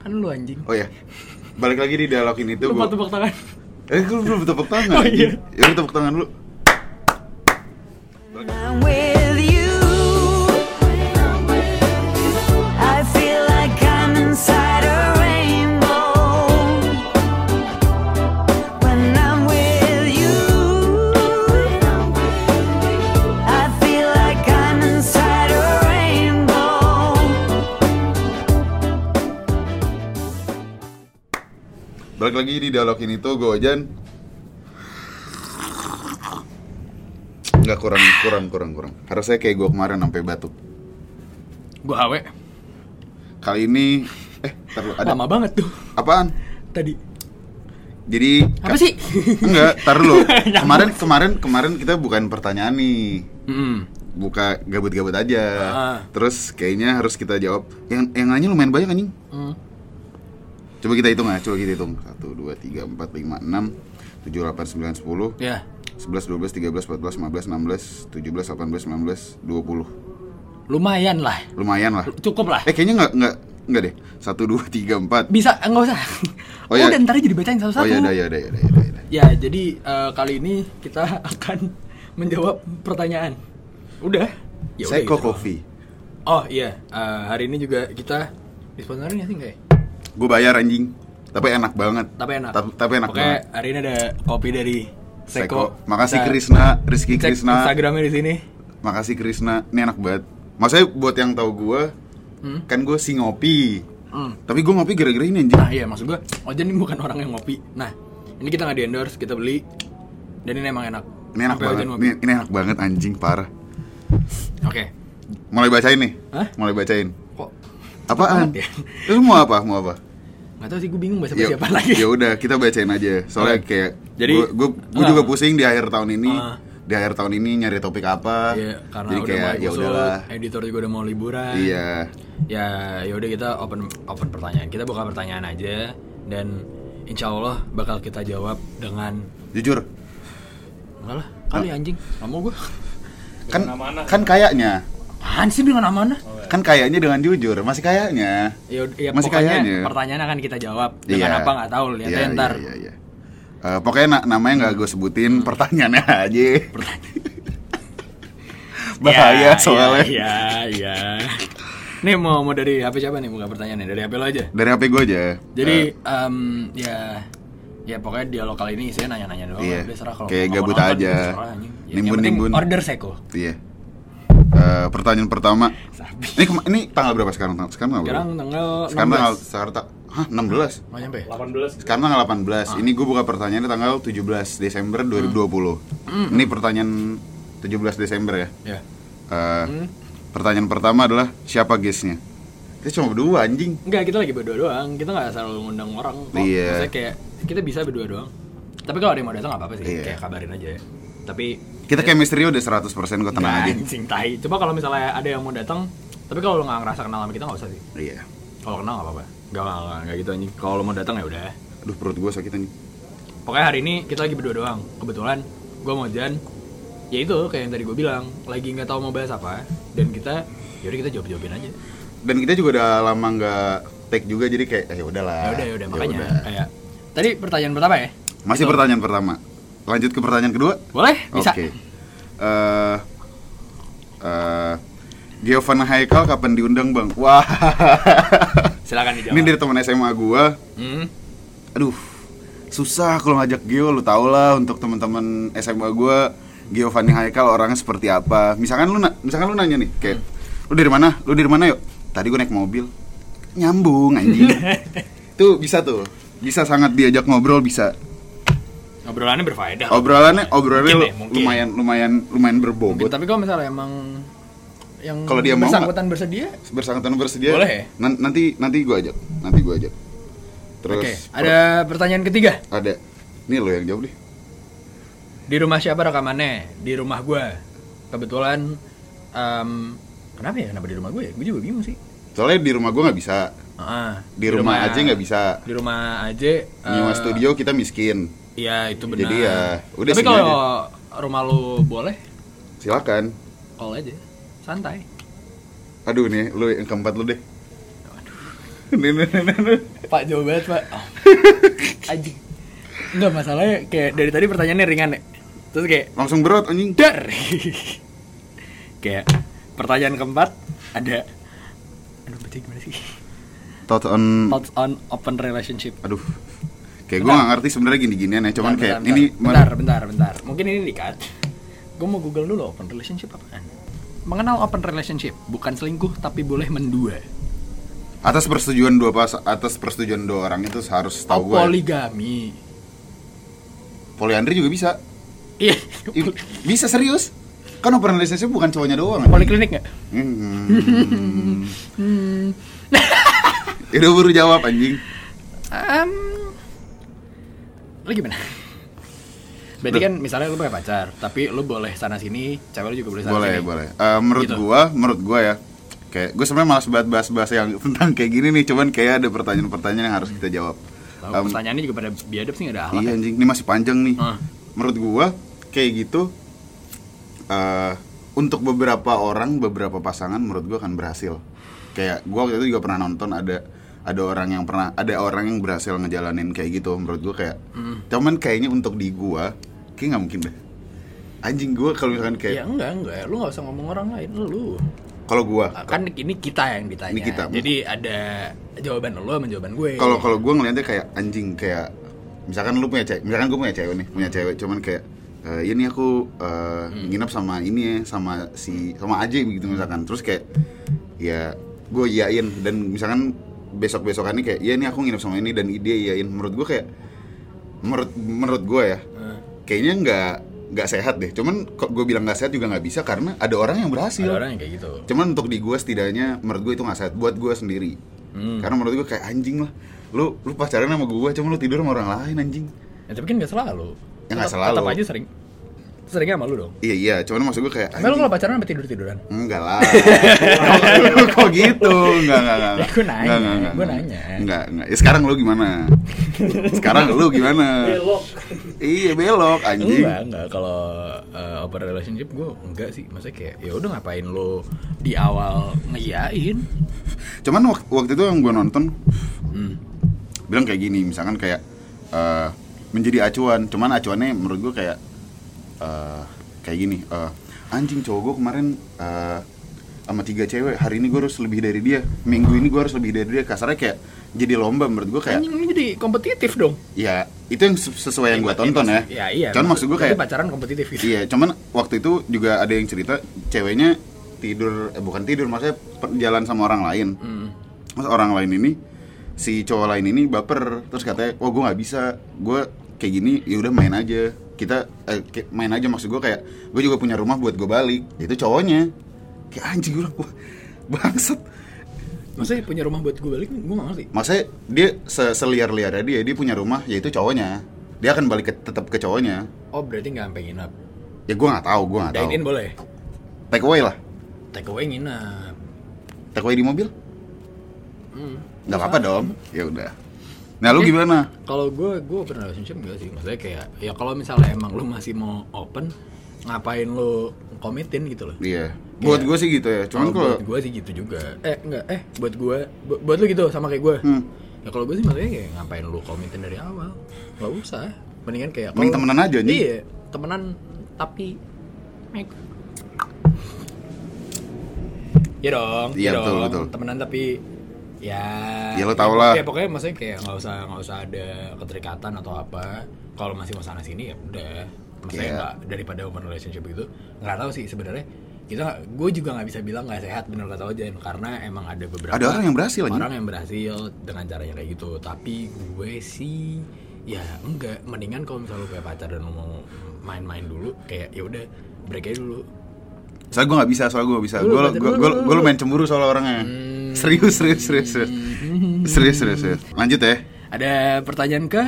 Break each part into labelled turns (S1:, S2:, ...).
S1: Kan lu anjing.
S2: Oh ya. Balik lagi di dialog ini tuh
S1: Lu mau
S2: gua.
S1: tepuk tangan.
S2: Eh, gua belum tepuk tangan.
S1: Oh,
S2: anjing.
S1: iya.
S2: Ya lu tepuk tangan dulu.
S3: I'm with you. I feel like I'm inside a rainbow. When I'm with you, I feel like I'm inside a rainbow.
S2: Balik lagi di dialog ini tuh gua Ojan. Enggak kurang kurang kurang kurang. Harusnya kayak gua kemarin sampai batuk.
S1: Gua awe.
S2: Kali ini eh ntar lu, ada
S1: Lama banget tuh
S2: apaan?
S1: tadi.
S2: Jadi
S1: Apa
S2: ka-
S1: sih?
S2: Enggak, tar dulu.
S1: Nyambung.
S2: kemarin kemarin kemarin kita bukan pertanyaan nih.
S1: Hmm.
S2: Buka gabut-gabut aja.
S1: Ah.
S2: Terus kayaknya harus kita jawab. Yang yang nanya lumayan banyak anjing.
S1: Hmm.
S2: Coba kita hitung ya, coba kita hitung. 1 2 3 4 5 6 7 8 9 10
S1: Ya.
S2: 11 12 13 14 15 16 17 18 19 20.
S1: Lumayan lah.
S2: Lumayan lah.
S1: Cukup lah.
S2: Eh kayaknya enggak enggak enggak deh. 1 2 3 4.
S1: Bisa enggak usah.
S2: Oh, iya.
S1: Udah ntar aja dibacain
S2: Oh
S1: satu-satu.
S2: ya udah ya udah ya udah, ya udah, ya udah.
S1: Ya, jadi eh, kali ini kita akan menjawab pertanyaan. Udah. Ya udah,
S2: Seko
S1: gitu.
S2: Coffee.
S1: Oh iya, Eh, hari ini juga kita disponsorin ya sih nggak ya?
S2: Gue bayar anjing. Tapi enak banget.
S1: Tapi enak.
S2: Tapi, tapi enak
S1: Oke,
S2: banget.
S1: hari ini ada kopi dari Seko.
S2: Seko. Makasih
S1: Kita
S2: Krisna, Rizky
S1: Cek
S2: Krisna.
S1: Instagramnya di sini.
S2: Makasih Krisna. Ini enak banget. Maksudnya buat yang tahu gue,
S1: Hmm.
S2: kan gue sih ngopi.
S1: Hmm.
S2: Tapi gue ngopi gara-gara ini anjing.
S1: Nah iya maksud gue, Ojan ini bukan orang yang ngopi. Nah, ini kita nggak di endorse, kita beli. Dan ini emang enak.
S2: Ini enak
S1: Sampai
S2: banget.
S1: Ojan ngopi.
S2: Ini, ini enak banget anjing parah.
S1: Oke.
S2: Mulai bacain nih.
S1: Hah?
S2: Mulai bacain.
S1: Kok
S2: Apaan?
S1: banget ya?
S2: Lu mau apa? Mau apa?
S1: nggak tahu sih gue bingung bahasa
S2: Ya-
S1: siapa lagi.
S2: Ya udah, kita bacain aja.
S1: Oke.
S2: Soalnya kayak
S1: Jadi-
S2: gue
S1: Ah.
S2: juga pusing di akhir tahun ini.
S1: Ah.
S2: Di akhir tahun ini nyari topik apa?
S1: Iya, karena
S2: Jadi
S1: udah
S2: kayak
S1: mulai
S2: ya
S1: kusut,
S2: udahlah.
S1: editor juga udah mau liburan.
S2: Iya.
S1: ya yaudah kita open open pertanyaan kita buka pertanyaan aja dan insya Allah bakal kita jawab dengan
S2: Jujur,
S1: enggak lah kali anjing nggak mau gue
S2: kan kan kayaknya
S1: apaan sih dengan amanah
S2: kan kayaknya dengan jujur masih kayaknya
S1: ya, ya
S2: Masih
S1: pokoknya
S2: kayaknya.
S1: pertanyaan akan kita jawab dengan
S2: Iya.
S1: apa nggak tahu lihat
S2: Iya,
S1: aja ntar Hmm.
S2: iya, iya, iya. Eh, pokoknya na- namanya nggak gue sebutin pertanyaannya aja bahaya
S1: Ya, ya
S2: soalnya
S1: ya, ya. nih mau mau dari HP siapa nih buka pertanyaannya dari HP lo aja
S2: dari hp gue aja
S1: jadi
S2: Eh.
S1: em, ya ya pokoknya dialog kali ini saya nanya-nanya doang
S2: Iya.
S1: udah serah kalau
S2: Kayak
S1: mau
S2: gabut
S1: nonton,
S2: aja.
S1: serah, anjing. Ya, yang
S2: Nimbun-nimbun.
S1: penting order seko
S2: Eh, iya Eh, pertanyaan pertama
S1: Sabi.
S2: ini kema- ini tanggal berapa sekarang Tang- sekarang tanggal berapa?
S1: Sekarang tanggal
S2: sekarang
S1: 16.
S2: tanggal sekarang ta- hah 16
S1: Nggak nyampe.
S4: 18
S2: sekarang tanggal 18
S1: Ah.
S2: ini gue buka pertanyaannya tanggal 17 Desember
S1: Hmm.
S2: 2020 ini pertanyaan 17 Desember ya
S1: Ya.
S2: Eh,
S1: Hmm.
S2: Pertanyaan pertama adalah siapa guestnya? Kita cuma berdua anjing.
S1: Enggak, kita lagi berdua doang. Kita nggak selalu ngundang orang kok.
S2: Iya.
S1: Maksudnya kayak kita bisa berdua doang. Tapi kalau ada yang mau datang nggak apa-apa sih.
S2: Iya.
S1: Kayak kabarin aja. ya. Tapi
S2: Kita chemistry udah 100% gue tenang
S1: nggak,
S2: aja.
S1: anjing tai. Coba kalau misalnya ada yang mau datang, tapi kalau lu nggak ngerasa kenal sama kita nggak usah sih.
S2: Iya.
S1: Kalau kenal nggak apa-apa. Enggak, enggak, enggak, enggak gitu anjing. Kalau lu mau datang ya udah.
S2: Aduh perut gue sakit anjing.
S1: Pokoknya hari ini kita lagi berdua doang. Kebetulan gue mau Jan. Ya itu kayak yang tadi gue bilang, lagi nggak tahu mau bahas apa dan kita yaudah kita jawab-jawabin aja.
S2: Dan kita juga udah lama nggak take juga jadi kayak eh, ya udahlah.
S1: Ya udah, ya udah makanya
S2: udah.
S1: kayak tadi pertanyaan pertama ya.
S2: Masih
S1: Gitu.
S2: pertanyaan pertama. Lanjut ke pertanyaan kedua.
S1: Boleh, bisa.
S2: Oke. Eh eh, Giovanna Haikal kapan diundang bang? Wah,
S1: Silakan dijawab.
S2: ini dari teman SMA gua
S1: Hmm.
S2: aduh susah kalau ngajak Gio lu tau lah untuk teman-teman SMA gue Gio Fanny Haikal orangnya seperti apa misalkan lu na- misalkan lu nanya nih kayak
S1: Hmm.
S2: lu dari mana lu dari mana yuk tadi gue naik mobil nyambung anjing tuh bisa tuh bisa sangat diajak ngobrol bisa
S1: Obrolannya berfaedah.
S2: obrolannya obrolannya
S1: Mungkin ya,
S2: lu-
S1: mungkin.
S2: lumayan lumayan lumayan
S1: Mungkin,
S2: berbobot
S1: tapi kalau misalnya emang yang
S2: Kalau dia mau
S1: bersangkutan bersedia,
S2: bersangkutan bersedia
S1: Boleh ya?
S2: nan- nanti nanti gue ajak nanti gue ajak
S1: oke.
S2: terus
S1: Ada pertanyaan ketiga.
S2: ada ini lo yang jawab deh
S1: Di rumah siapa rekamannya? Di rumah gua. Kebetulan em, kenapa ya? Kenapa di rumah gue ya? Gue juga bingung sih.
S2: soalnya di rumah gue nggak bisa
S1: Ah,
S2: di, rumah, aja nggak bisa
S1: Di rumah aja.
S2: nyewa
S1: eh,
S2: studio kita miskin
S1: Iya, itu benar.
S2: Jadi ya, udah
S1: Tapi
S2: sini
S1: kalau rumah lu boleh,
S2: silakan
S1: call aja. Santai.
S2: aduh nih lu yang keempat lu deh Nih, nih, nih, nih.
S1: Pak jauh banget pak Ah. Anjing Enggak masalahnya kayak dari tadi pertanyaannya ringan ya Terus kayak
S2: Langsung berat anjing.
S1: Dar Kayak pertanyaan keempat ada Aduh baca gimana sih
S2: Thought on
S1: Thoughts on open relationship
S2: aduh. Kayak gue gak ngerti sebenarnya gini-ginian ya, cuman
S1: Bentar,
S2: kayak
S1: bentar,
S2: ini
S1: bentar, bentar, bentar. Mungkin ini dikat. Gue mau google dulu open relationship apaan. Mengenal open relationship bukan selingkuh tapi boleh mendua.
S2: atas persetujuan dua pas atas persetujuan dua orang itu harus
S1: Oh,
S2: tahu ya? gue.
S1: poligami.
S2: Poliandri juga bisa.
S1: Iya.
S2: I- bisa serius. Kan open relationship bukan cowoknya doang. anjing.
S1: Poliklinik nggak?
S2: Hmm. Udah buru jawab anjing.
S1: Um, lu gimana? Berarti kan misalnya lu punya pacar, tapi lu boleh sana sini, cewek lu juga boleh sana
S2: boleh
S1: sini.
S2: boleh Eh, menurut
S1: Gitu.
S2: gua menurut gua ya kayak gue sebenarnya malas banget bahas-bahas yang tentang kayak gini nih cuman kayak ada pertanyaan-pertanyaan yang harus kita jawab
S1: Tahu
S2: Em,
S1: pertanyaannya juga pada biadab sih nggak ada
S2: iya
S1: alat.
S2: anjing ini masih panjang nih
S1: Hmm.
S2: menurut gua kayak gitu eh untuk beberapa orang beberapa pasangan menurut gua akan berhasil kayak gua waktu itu juga pernah nonton ada ada orang yang pernah ada orang yang berhasil ngejalanin kayak gitu menurut gua kayak cuman kayaknya untuk di gua kayak nggak mungkin deh anjing gua kalau misalkan
S1: Ya
S2: kayak
S1: enggak enggak, lu nggak usah ngomong orang lain, lu.
S2: kalau gua
S1: kan ini kita yang ditanya.
S2: Ini kita.
S1: Jadi ada jawaban lo sama jawaban gue.
S2: kalau kalau gue ngeliatnya kayak anjing kayak misalkan lu punya cewek misalkan gue punya cewek nih punya cewek cuman kayak eh ini aku eh,
S1: Hmm.
S2: nginep sama ini ya sama si sama aja begitu misalkan terus kayak ya gue yain dan misalkan besok besokannya kayak ya ini aku nginep sama ini dan dia yain menurut gue kayak menurut menurut gue ya
S1: Eh,
S2: kayaknya nggak nggak sehat deh cuman kok gue bilang nggak sehat juga nggak bisa karena ada orang yang berhasil
S1: ada orang yang kayak gitu.
S2: cuman untuk di gue setidaknya menurut gue itu nggak sehat buat gue sendiri
S1: Hmm.
S2: karena menurut gue kayak anjing lah lu lu pacaran sama gue cuma lu tidur sama orang lain anjing
S1: Ya, tapi kan nggak selalu.
S2: Ya, nggak
S1: Tetap-
S2: selalu.
S1: Tetap aja sering. Seringnya sama lu dong.
S2: iya iya cuman maksud gue kayak
S1: Tapi lu
S2: anjing
S1: kalau pacaran sampai tidur tiduran.
S2: enggak lah kok, kok gitu enggak enggak enggak
S1: Ya, gua nanya,
S2: Enggak, enggak, enggak,
S1: gua
S2: enggak.
S1: nanya.
S2: enggak enggak ya sekarang lu gimana sekarang lu gimana
S4: Belok.
S2: iya belok anjing
S1: Enggak, enggak. Kalau eh, open relationship gue enggak sih. Maksudnya kayak ya udah ngapain lo di awal ngeyain?
S2: cuman wak- waktu itu yang gue nonton
S1: Hmm.
S2: bilang kayak gini misalkan kayak eh, menjadi acuan cuman acuannya menurut gue kayak eh, kayak gini eh, anjing cowok gue kemarin eh, sama tiga cewek hari ini gue harus lebih dari dia minggu ini gue harus lebih dari dia kasarnya kayak jadi lomba menurut gue kayak
S1: Anjing lu jadi kompetitif dong.
S2: ya itu yang ses- sesuai yang gue tonton ya
S1: Ya iya.
S2: cuman maksud gue
S1: berarti
S2: kayak
S1: pacaran kompetitif gitu.
S2: Iya, cuman waktu itu juga ada yang cerita ceweknya tidur eh, bukan tidur maksudnya per- jalan sama orang lain. Terus orang lain ini si cowok lain ini baper terus katanya, "Wah, gue nggak bisa. Gue kayak gini, ya udah main aja. Kita eh, kayak main aja maksud gue kayak gue juga punya rumah buat gue balik." Itu cowoknya. Kayak anjing gue bangsat.
S1: Maksudnya punya rumah buat gue balik, gue gak ngerti.
S2: Maksudnya dia se- seliar-liarnya dia dia punya rumah yaitu cowoknya. Dia akan balik ke, tetap ke cowoknya.
S1: Oh berarti nggak sampai nginep.
S2: Ya gue nggak tahu, gue nggak tahu.
S1: Dine in boleh.
S2: Take away lah.
S1: Take away nginep.
S2: Take away di mobil?
S1: Hmm. Eh.
S2: nggak apa-apa dong ya udah nah lu gimana
S1: Kalau gue, gue open relationship gak sih? Maksudnya kayak, ya kalau misalnya emang lu masih mau open, ngapain lu komitin gitu loh?
S2: iya buat gue sih gitu ya cuman
S1: Kalau
S2: kalau
S1: buat gue sih gitu juga. Eh enggak, eh buat gue, bu- buat lu gitu sama kayak gue.
S2: Hmm.
S1: Ya kalau gue sih maksudnya kayak ngapain lu komitin dari awal? Gak usah. Mendingan kayak.
S2: Mending
S1: kalau-
S2: temenan aja, Nyi.
S1: Iya, temenan tapi. make- Iya dong,
S2: Iya, betul,
S1: dong.
S2: betul.
S1: Temenan tapi ya.
S2: Ya, lo tau lah.
S1: Ya pokoknya maksudnya kayak nggak usah nggak usah ada keterikatan atau apa. Kalau masih mau sana sini ya udah. Maksudnya
S2: Iya.
S1: nggak- daripada open relationship gitu nggak tahu sih sebenarnya kita nggak- gue juga nggak bisa bilang nggak sehat bener kata Ojen karena emang ada beberapa
S2: Ada orang yang berhasil, anjing.
S1: orang yang berhasil dengan caranya kayak gitu tapi gue sih ya enggak mendingan kalau misalnya lu kayak pacar dan lu mau main-main dulu kayak ya udah break aja dulu
S2: soalnya gue nggak bisa soalnya gue bisa
S1: Lu,
S2: gue
S1: baca
S2: gue
S1: dulu,
S2: gue
S1: lu, Hmm.
S2: gue
S1: lu.
S2: lumayan cemburu soal orangnya serius serius serius serius serius serius serius lanjut ya
S1: ada pertanyaan ke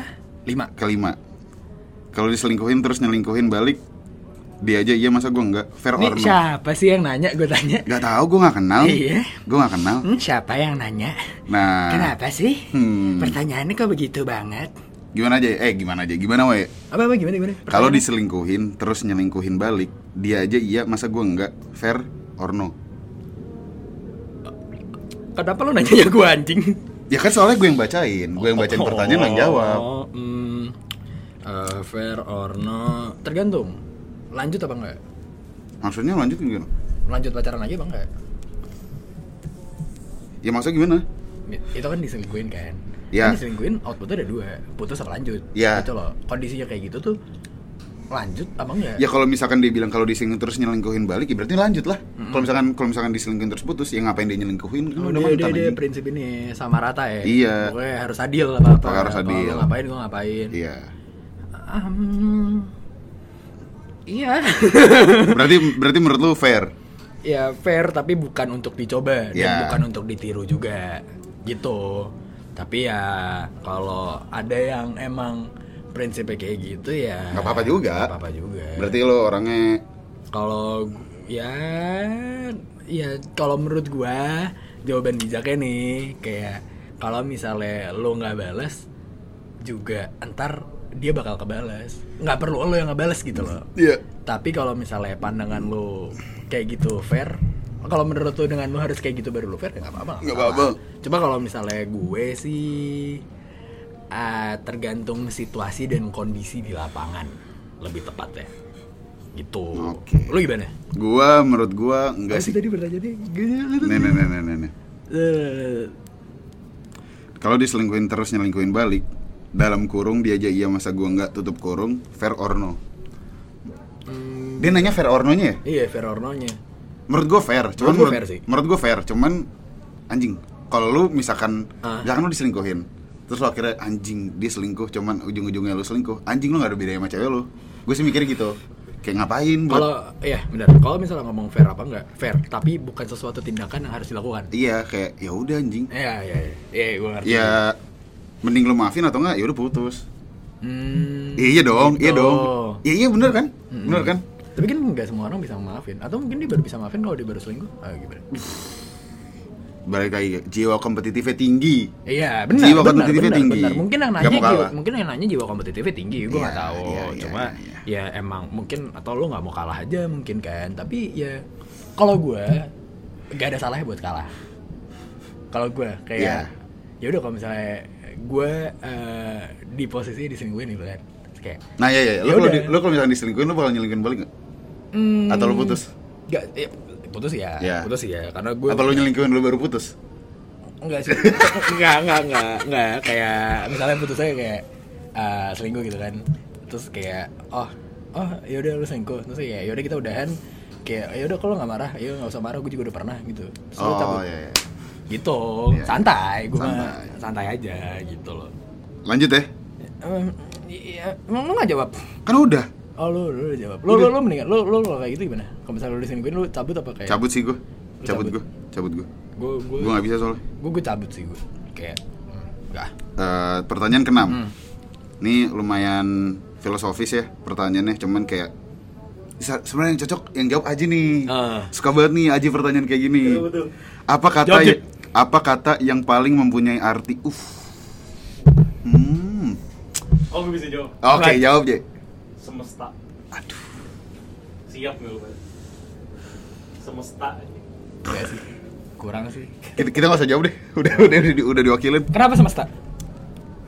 S1: lima
S2: kelima kalau diselingkuhin terus nyelingkuhin balik dia aja iya masa gue nggak fair
S1: ini
S2: or no
S1: siapa sih yang nanya gue tanya
S2: nggak tahu gue nggak kenal
S1: Iya.
S2: gue nggak kenal
S1: Hmm, siapa yang nanya
S2: nah
S1: kenapa sih
S2: Hmm.
S1: pertanyaannya kok begitu banget
S2: gimana aja eh gimana aja gimana we
S1: apa apa gimana gimana
S2: kalau
S1: Pertanyaan-
S2: diselingkuhin terus nyelingkuhin balik dia aja iya masa gue nggak fair or no
S1: kenapa lu nanya gue anjing
S2: Ya kan soalnya gue yang bacain, gue yang bacain pertanyaan lo yang jawab.
S1: Oh, hmm, eh, fair or no? Tergantung. Lanjut apa enggak?
S2: Maksudnya lanjut gimana?
S1: Lanjut pacaran lagi apa enggak?
S2: Ya maksudnya gimana?
S1: Itu kan diselingkuhin kan?
S2: Ya.
S1: Kan diselingkuhin outputnya ada dua, putus apa lanjut?
S2: Ya.
S1: Gitu loh. Kondisinya kayak gitu tuh lanjut apa enggak?
S2: Ya kalau misalkan dia bilang kalau diselingkuhin terus nyelingkuhin balik, ya berarti lanjut lah. Kalau misalkan kalau misalkan diselingkuhin terus putus, ya ngapain dia nyelingkuhin? Kan
S1: Oh,
S2: udah
S1: dia, dia,
S2: mantan
S1: dia
S2: anjing.
S1: prinsip ini sama rata ya.
S2: Iya.
S1: Pokoknya harus adil apa apa.
S2: Pokoknya harus adil.
S1: ngapain gua ngapain.
S2: Iya.
S1: Ah, hmm, iya.
S2: Berarti berarti menurut lu fair.
S1: ya fair tapi bukan untuk dicoba dan
S2: Iya.
S1: bukan untuk ditiru juga. Gitu. Tapi ya kalau ada yang emang prinsipnya kayak gitu ya.
S2: Nggak apa-apa juga.
S1: nggak apa-apa juga.
S2: Berarti lo orangnya
S1: Kalau gu- ya ya kalau menurut gua jawaban bijaknya nih kayak kalau misalnya lo nggak balas juga entar dia bakal kebales nggak perlu lo yang ngebales gitu loh
S2: Iya.
S1: tapi kalau misalnya pandangan lo kayak gitu fair kalau menurut lo dengan lo harus kayak gitu baru lo fair ya nggak apa-apa
S2: Nggak apa-apa.
S1: coba kalau misalnya gue sih ah, tergantung situasi dan kondisi di lapangan lebih tepat ya gitu
S2: Oke.
S1: lo gimana
S2: Gua menurut gua enggak
S1: Apa sih
S2: sih.
S1: tadi pertanyaannya gini Eh,
S2: Nih nih nih nih nih, nih. Kalau diselingkuhin terus nyelingkuhin balik, dalam kurung dia aja iya masa gua nggak tutup kurung, fair or no?
S1: Hmm.
S2: Dia nanya fair or no-nya ya?
S1: iya fair or no-nya.
S2: Menurut gua fair, cuman
S1: gua
S2: menurut,
S1: fair sih.
S2: menurut gua fair, cuman anjing. Kalau lu misalkan
S1: Ah.
S2: misalkan lu diselingkuhin, terus lu akhirnya anjing dia selingkuh, cuman ujung-ujungnya lu selingkuh, anjing lu nggak ada bedanya sama cewek lu. Gue sih mikir gitu. Kayak ngapain buat
S1: kalau ya benar kalau misalnya ngomong fair apa enggak fair tapi bukan sesuatu tindakan yang harus dilakukan
S2: Iya, kayak ya udah anjing.
S1: Iya, iya, iya. Iya, gue ngerti.
S2: Ya mending lu maafin atau enggak ya udah putus.
S1: Hmm,
S2: Iya, iya dong, iya
S1: gitu.
S2: dong. Iya iya bener kan? Bener kan?
S1: Tapi kan nggak semua orang bisa maafin. Atau mungkin dia baru bisa maafin kalau dia baru selingkuh. Ah, gimana?
S2: Balik lagi jiwa kompetitifnya tinggi.
S1: Iya, benar.
S2: Jiwa
S1: benar,
S2: kompetitifnya
S1: benar,
S2: tinggi.
S1: benar. Mungkin yang
S2: Nggak
S1: nanya
S2: mau
S1: jiwa,
S2: kalah.
S1: mungkin yang nanya jiwa kompetitifnya tinggi, gue nggak
S2: Iya,
S1: tahu.
S2: iya, iya,
S1: Cuma
S2: iya.
S1: ya emang mungkin atau lo nggak mau kalah aja mungkin kan. Tapi ya kalau gue nggak ada salahnya buat kalah. Kalau gue
S2: Iya.
S1: kayak ya udah kalau misalnya gue eh, di posisi diselingkuhin gitu kan. Terus Kayak
S2: Nah ya ya,
S1: Ya
S2: lo kalau
S1: udah.
S2: di- lo kalau misalkan diselingkuhin lo bakal nyelingkuhin balik nggak?
S1: Hmm,
S2: Atau lo putus?
S1: Gak, ya, putus ya,
S2: Ya.
S1: putus ya, karena gue
S2: Apa lo nyelingkuhin lo baru putus?
S1: enggak sih, enggak, enggak, enggak, enggak, kayak misalnya putus saya kayak eh, selingkuh gitu kan, terus kayak oh oh yaudah lu selingkuh, terus kayak yaudah kita udahan, kayak yaudah kalau nggak marah, ya nggak usah marah, gue juga udah pernah gitu, terus lu cabut.
S2: ya, ya.
S1: gitu,
S2: Iya.
S1: santai, gue mah
S2: Santai.
S1: santai aja gitu loh.
S2: Lanjut ya.
S1: Em, iya, emang lu nggak jawab?
S2: Kan udah
S1: Oh lu, lu, lu jawab. Lu, lu, lu mendingan, lu, lu, kalau kayak gitu gimana? Kalau misalnya lu diselingkuhin, lu cabut apa kayak?
S2: cabut sih gue,
S1: Lo Eh.
S2: cabut
S1: cabut.
S2: gue, cabut gue.
S1: Gue, gue,
S2: Gue nggak bisa soalnya.
S1: gue gue cabut sih gue kayak hmm, enggak
S2: Eh, pertanyaan keenam.
S1: Hmm.
S2: Ini lumayan filosofis ya pertanyaannya, cuman kayak se- sebenarnya yang cocok yang jawab Aji nih.
S1: Ah.
S2: Suka banget nih Aji pertanyaan kayak gini.
S1: Betul, betul.
S2: Apa kata ya,
S1: Jawab, Ji.
S2: apa kata yang paling mempunyai arti? Uff. Hmm.
S4: Oh, gue bisa jawab.
S2: Oke,
S1: Right.
S2: jawab Ji.
S4: Semesta.
S2: Aduh.
S4: Siap nggak lu? Bal? Semesta.
S1: Enggak sih kurang sih
S2: Kita, kita gak usah jawab deh. Udah udah udah, di- udah diwakilin.
S1: kenapa semesta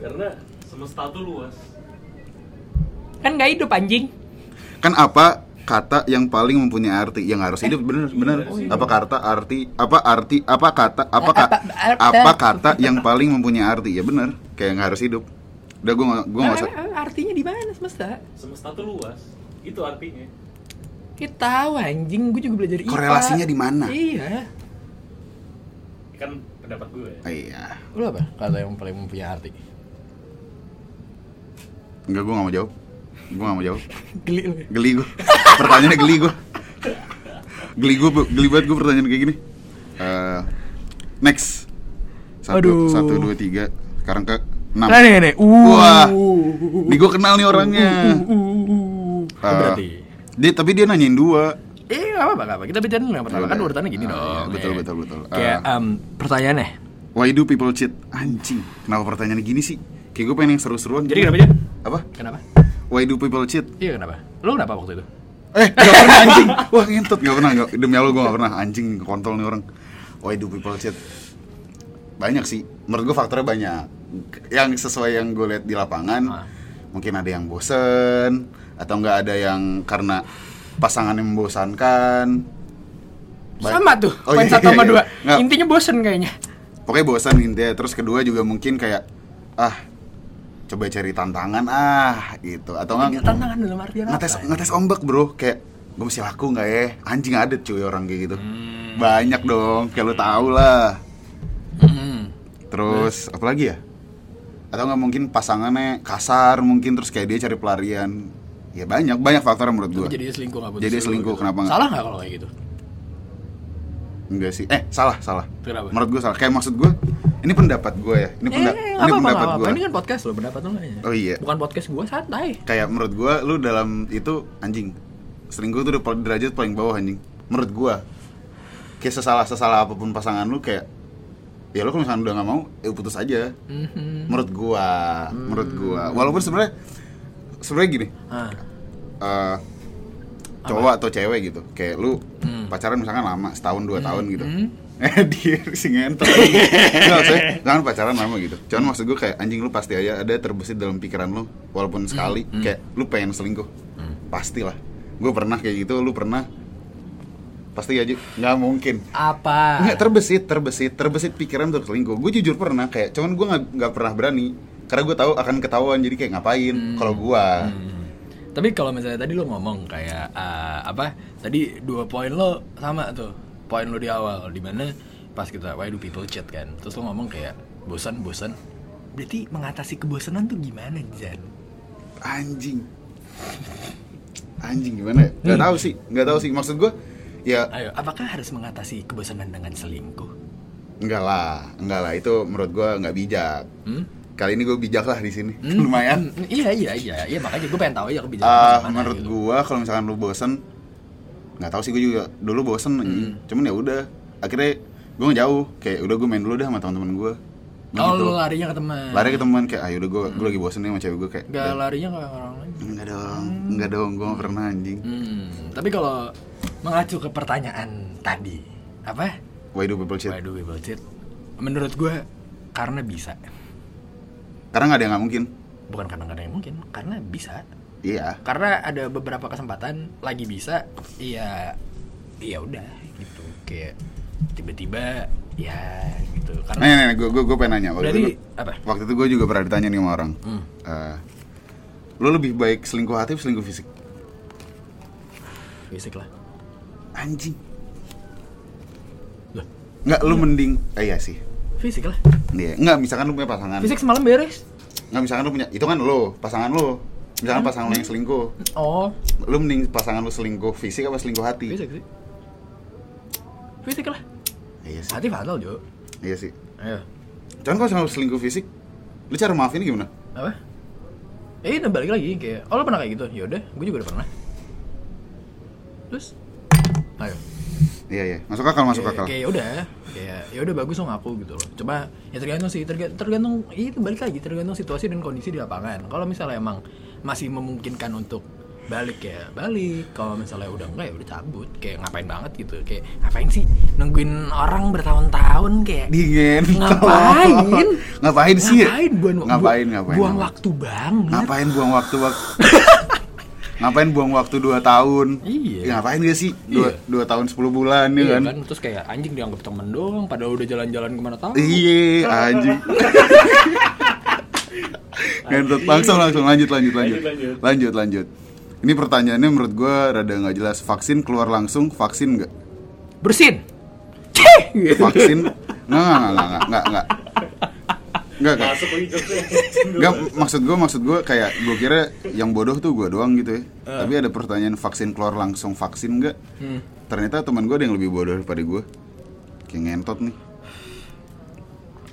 S4: Karena semesta tuh luas.
S1: kan nggak hidup anjing
S2: Kan apa kata yang paling mempunyai arti yang harus hidup bener bener apa kata arti apa arti apa kata apa ka-
S1: Apa- apa-
S2: apa kata yang paling mempunyai arti ya bener kayak yang harus hidup udah gue gue nggak usah
S1: artinya di mana semesta
S4: Semesta tuh luas. Itu artinya.
S1: kita tahu anjing gue juga belajar IPA
S2: Korelasinya di mana?
S1: iya
S4: Kan pendapat gue ya.
S2: Ah, iya
S1: lu apa kata yang paling mempunyai arti
S2: enggak gue nggak mau jawab gue nggak mau jawab
S1: geli lu ya?
S2: geli gue pertanyaannya geli gue geli gue geli banget gue pertanyaan kayak gini Eh, next satu
S1: Aduh.
S2: satu dua tiga sekarang ke enam
S1: nah nih nih uh
S2: Wah. Nih gue kenal nih orangnya.
S1: Oh,
S2: Eh,
S1: berarti
S2: Dia tapi dia nanyain dua.
S1: Eh, gak apa-apa, gak apa-apa. Kita bicarain dulu yang pertama.
S2: Iya,
S1: Kan
S2: iya.
S1: urutannya gini
S2: Ah,
S1: dong.
S2: iya, betul,
S1: Eh.
S2: betul, betul.
S1: Kayak,
S2: Ah.
S1: em, ya? pertanyaannya.
S2: Why do people cheat? Anjing. Kenapa pertanyaan gini sih? Kayak gue pengen yang seru-seruan.
S1: Jadi kenapa, Jan?
S2: Apa?
S1: Kenapa?
S2: Why do people cheat?
S1: Iya, kenapa? Lu kenapa waktu itu?
S2: Eh, gak pernah anjing. Wah, ngentot. Gak pernah. Gak, demi Allah gue gak pernah. Anjing, kontol nih orang. Why do people cheat? banyak sih menurut gue faktornya banyak yang sesuai yang gue lihat di lapangan
S1: Ah.
S2: mungkin ada yang bosen atau nggak ada yang karena pasangannya membosankan Baik.
S5: Sama tuh,
S2: Oh,
S5: poin
S2: iya,
S5: satu
S2: iya,
S5: sama
S2: iya.
S5: dua.
S2: Nggak.
S5: Intinya bosen kayaknya.
S2: pokoknya bosan intinya terus kedua juga mungkin kayak ah coba cari tantangan ah gitu atau
S5: Ini
S2: nggak
S5: tantangan dalam artian apa?
S2: ngetes ngetes ombak bro kayak gue mesti laku nggak ya anjing ada cuy orang kayak gitu
S1: Hmm.
S2: banyak dong kayak lo tau lah
S1: Hmm.
S2: terus
S1: Nah.
S2: apa lagi ya atau nggak mungkin pasangannya kasar mungkin terus kayak dia cari pelarian ya banyak banyak faktor menurut gue
S1: Tapi jadi dia selingkuh nggak putus
S2: Jadi dia
S1: dulu
S2: selingkuh, kenapa nggak?
S1: Salah nggak kalau kayak gitu?
S2: enggak sih eh salah salah
S1: Kenapa?
S2: menurut gue salah kayak maksud gue ini pendapat gue ya ini,
S5: Eh,
S2: penda-
S5: eh,
S2: ini
S5: apa, apa,
S2: pendapat
S5: apa,
S2: gue
S5: Ini kan podcast lo, pendapat lo
S1: ya?
S5: nanya.
S2: Oh, iya.
S5: Bukan podcast gua, santai.
S2: kayak menurut gua lu dalam itu anjing selingkuh tuh udah pal- derajat paling bawah anjing menurut gua kayak sesalah sesalah apapun pasangan lu kayak ya lu kalau misalkan udah nggak mau ya putus aja menurut gua menurut gua walaupun sebenarnya sebenarnya gini
S1: Ah.
S2: eh cowok atau cewek gitu kayak lu pacaran misalkan lama setahun dua tahun gitu eh dia si ngentot nggak saya jangan pacaran lama gitu cuman maksud gue kayak anjing lu pasti aja ada terbesit dalam pikiran lu walaupun sekali kayak lu pengen selingkuh pastilah gue pernah kayak gitu lu pernah pasti aja nggak mungkin
S1: Apa?
S2: Nggak terbesit, terbesit, terbesit pikiran untuk selingkuh. Gue jujur pernah kayak, cuman gue nggak nggak pernah berani karena gue tahu akan ketahuan jadi kayak ngapain kalau gue
S1: Tapi kalau misalnya tadi lo ngomong kayak ah, apa? Tadi dua poin lo sama tuh. Poin lo di awal di mana pas kita why do people chat kan. Terus lo ngomong kayak bosan bosan. Berarti mengatasi kebosanan tuh gimana, Jan?
S2: anjing, anjing gimana? ya? Nggak
S1: Hmm.
S2: tahu sih, nggak tahu sih. Maksud gue, ya
S1: Ayo, apakah harus mengatasi kebosanan dengan selingkuh?
S2: enggak lah, enggak lah. Itu menurut gue nggak bijak.
S1: Hmm?
S2: Kali ini gue bijak lah di sini, lumayan.
S1: Hmm, iya iya iya iya makanya gue pengen tahu aja kebijakan lo
S2: Ah,
S1: gimana
S2: menurut
S1: gitu.
S2: gua kalau misalkan lu bosen nggak tahu sih gua juga dulu bosen
S1: Hmm.
S2: anjing. cuman ya udah akhirnya gua ngejauh kayak udah gua main dulu dah sama teman-teman gua
S1: Oh,
S2: Gua gitu.
S1: lo larinya ke teman.
S2: lari ke teman kayak ayo udah gua gua lagi bosen nih sama cewek gua kayak
S1: Gak larinya ke orang lain.
S2: enggak dong enggak dong gua nggak pernah anjing
S1: Hmm, tapi kalau mengacu ke pertanyaan tadi, apa? ya?
S2: why do people cheat
S1: Waduh, double cheat. Menurut gue karena bisa.
S2: karena nggak ada yang nggak mungkin
S1: Bukan kadang-kadang yang mungkin, karena bisa.
S2: iya
S1: Karena ada beberapa kesempatan lagi bisa, iya iya udah gitu. Kayak tiba-tiba ya gitu.
S2: nah,
S1: Karena
S2: nah, nah, gua, gua, gua pengen nanya waktu
S1: Berarti,
S2: itu
S1: apa? Hmm,
S2: waktu itu gua juga pernah ditanya nih sama orang Eh, lu lebih baik selingkuh hati atau selingkuh fisik
S1: fisik lah.
S2: anjing
S1: Lah.
S2: nggak lu mending eh, iya sih
S1: Fisik lah.
S2: Iya, enggak misalkan lu punya pasangan.
S5: Fisik semalam beres.
S2: Enggak misalkan lu punya, itu kan lu, pasangan lu. Misalkan pasangan lu yang selingkuh.
S5: Oh,
S2: Lu mending pasangan lu selingkuh fisik apa selingkuh hati?
S1: Fisik sih. Fisik lah.
S2: Iya sih.
S1: Hati fatal, Jo.
S2: Iya sih.
S1: Ayo.
S2: Cuman kalau misalkan lu selingkuh fisik, lu cara maafinnya gimana?
S1: Apa? Eh, itu balik lagi kayak, oh lo pernah kayak gitu? Yaudah, gue juga udah pernah. Terus, ayo.
S2: Iya, iya. Masuk akal, masuk
S1: kayak
S2: akal.
S1: kayak udah kayak ya udah bagus dong aku gitu loh coba ya tergantung sih terga- tergantung itu balik lagi tergantung situasi dan kondisi di lapangan kalau misalnya emang masih memungkinkan untuk balik ya balik kalau misalnya udah enggak ya udah cabut kayak ngapain banget gitu kayak ngapain sih nungguin orang bertahun-tahun kayak
S2: Dingin.
S1: ngapain
S2: ngapain sih? ya?
S1: ngapain buang,
S2: ngapain, ngapain?
S1: buang
S2: ngapain.
S1: waktu banget
S2: Ngapain buang waktu, Bang? ngapain buang waktu 2 tahun?
S1: Iya.
S2: Ya, ngapain gak sih? 2 tahun 10 bulan ya
S1: Iya
S2: kan?
S1: kan? terus kayak anjing dianggap temen doang padahal udah jalan-jalan kemana tahu
S2: Iya, anjing. Ngentot langsung langsung lanjut lanjut lanjut.
S4: Lanjut, lanjut.
S2: Lanjut lanjut. Ini pertanyaannya menurut gua rada nggak jelas. Vaksin keluar langsung, vaksin nggak?
S1: bersin Gitu.
S2: Vaksin? Nggak nggak nggak nggak nggak nggak. Nggak nggak.
S4: masuk lagi ya. jokesnya
S2: Nggak, maksud gua maksud gua kayak gua kira yang bodoh tuh gua doang gitu
S1: Eh.
S2: ya. Tapi ada pertanyaan vaksin keluar langsung, vaksin nggak?
S1: Hmm.
S2: Ternyata teman gua ada yang lebih bodoh daripada gua. Kayak ngentot nih.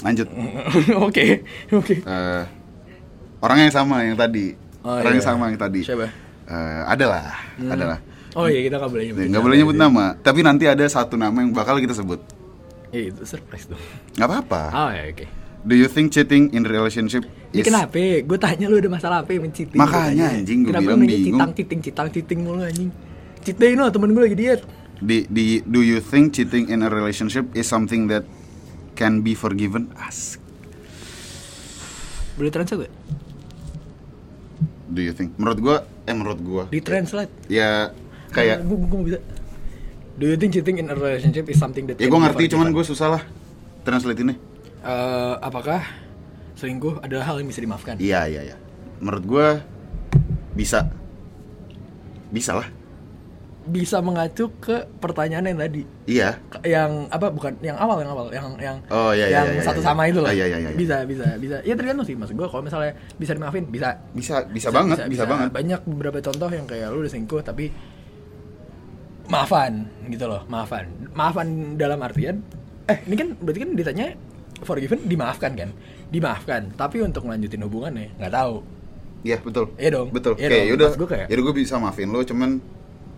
S2: Lanjut.
S1: oke oke
S2: eh orangnya yang sama yang tadi
S1: Oh,
S2: orang yang
S1: iya.
S2: sama yang tadi
S1: Siapa?
S2: Eh, adalah adalah
S1: oh iya kita nggak boleh nyebut
S2: nggak boleh nyebut nama tapi nanti ada satu nama yang bakal kita sebut
S1: Ya itu surprise dong.
S2: nggak apa-apa
S1: Oh ya oke.
S2: do you think cheating in relationship
S1: Ini
S2: is
S1: kenapa? Gue tanya lu ada masalah apa yang cheating? Gua
S2: Makanya,
S1: tanya.
S2: anjing, gua
S1: Kenapa
S2: bilang
S1: lu nanya
S2: bingung.
S1: Citang citing citang citing mulu anjing. Citain lo temen gue lagi diet.
S2: di, di do you think cheating in a relationship is something that can be forgiven as
S5: Boleh translate gak?
S2: do you think menurut gua eh menurut gua
S1: Di translate.
S2: ya kayak
S1: Gue gue bisa. Do you think cheating in a relationship is something that?
S2: ya
S1: can
S2: gua
S1: be
S2: ngerti
S1: forgiven?
S2: cuman gua susah lah translate ini
S1: Eh, apakah selingkuh adalah hal yang bisa dimaafkan?
S2: iya iya iya menurut gua bisa bisa lah
S1: Bisa mengacu ke pertanyaan yang tadi,
S2: iya
S1: Ke- yang apa bukan yang awal yang awal yang yang
S2: Oh, iya, iya,
S1: yang
S2: iya, iya,
S1: satu
S2: iya.
S1: sama itu loh.
S2: Ah, iya, iya, iya.
S1: Bisa bisa bisa. Ya tergantung sih maksud gue kalau misalnya bisa dimaafin bisa.
S2: bisa bisa, banget bisa, banget
S1: Banyak beberapa contoh yang kayak lu udah selingkuh tapi maafan gitu loh, maafan. Maafan dalam artian eh ini kan berarti kan ditanya forgiven dimaafkan kan? Dimaafkan, tapi untuk melanjutin hubungannya nggak tahu.
S2: iya betul
S1: Iya dong.
S2: betul
S1: Iya
S2: kayak
S1: dong.
S2: yaudah
S1: Maksud gua kayak-
S2: yaudah gua bisa maafin lo cuman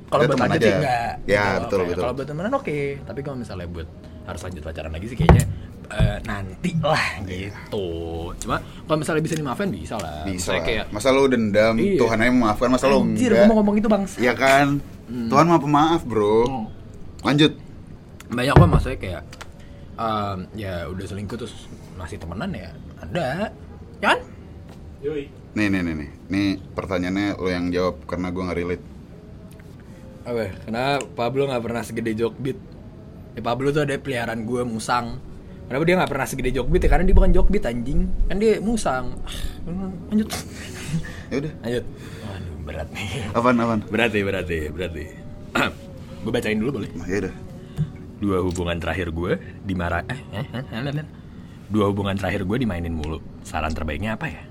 S1: Kalau
S2: udah
S1: buat
S2: teman
S1: lanjut
S2: aja.
S1: sih enggak.
S2: ya
S1: Gitu loh,
S2: betul
S1: kayak
S2: betul
S1: Kalau buat temenan oke, tapi kalau misalnya buat harus lanjut pacaran lagi sih kayaknya eh, nanti lah
S2: Iya.
S1: gitu. Cuma kalau misalnya bisa dimaafin bisa lah.
S2: bisa
S1: Misalnya
S2: lah.
S1: kayak
S2: masa lo dendam
S1: Iya.
S2: Tuhan aja memaafkan masa lo
S1: Anjir,
S2: enggak
S1: gua mau ngomong itu bang.
S2: Iya kan? Tuhan maha pemaaf, Bro.
S1: Hmm.
S2: Lanjut.
S1: banyak kok maksudnya kayak em, ya udah selingkuh terus masih temenan ya ada kan
S4: Yoi.
S2: Nih, nih, nih, nih. Nih pertanyaannya lo yang jawab karena gua nggak relate.
S1: Oke, karena Pablo nggak pernah segede Jogbit. Ya, Pablo tuh ada peliharaan gue musang. Kenapa dia nggak pernah segede Jogbit ya? Karena dia bukan Jogbit anjing, kan dia musang. Ah, Lanjut,
S2: Ya udah.
S1: lanjut. Waduh berat nih.
S2: Apaan, apaan?
S1: Berat nih, berat nih, berat nih. gue bacain dulu boleh?
S2: Nah, ya udah.
S1: dua hubungan terakhir gue dimarah eh, eh, eh, eh, eh, eh. dua hubungan terakhir gue dimainin mulu saran terbaiknya apa ya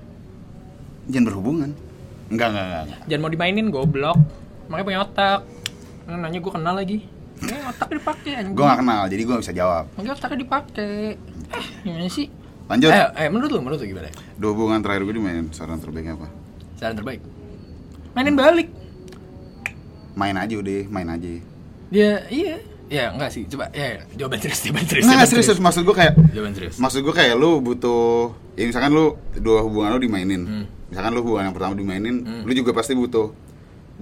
S2: Jangan berhubungan. Enggak, enggak, enggak. enggak.
S1: jangan mau dimainin goblok makanya punya otak Nah, nanya gue kenal lagi ya, otak dipakai anjing
S2: Gua nggak kenal, jadi gua nggak bisa jawab.
S1: makanya otaknya dipakai eh gimana sih
S2: Lanjut.
S1: eh, eh menurut lu menurut lu gimana
S2: Dua hubungan terakhir gue dimainin saran terbaiknya apa?
S1: saran terbaik mainin balik
S2: Main aja udah, main aja.
S1: ya iya ya enggak sih coba ya jawaban serius jawaban serius
S2: Nah,
S1: jawaban
S2: serius, serius. maksud gua kayak
S1: jawaban serius
S2: maksud gua kayak lu butuh ya misalkan lu dua hubungan lu dimainin.
S1: Hmm.
S2: Misalkan lu hubungan yang pertama dimainin, lu juga pasti butuh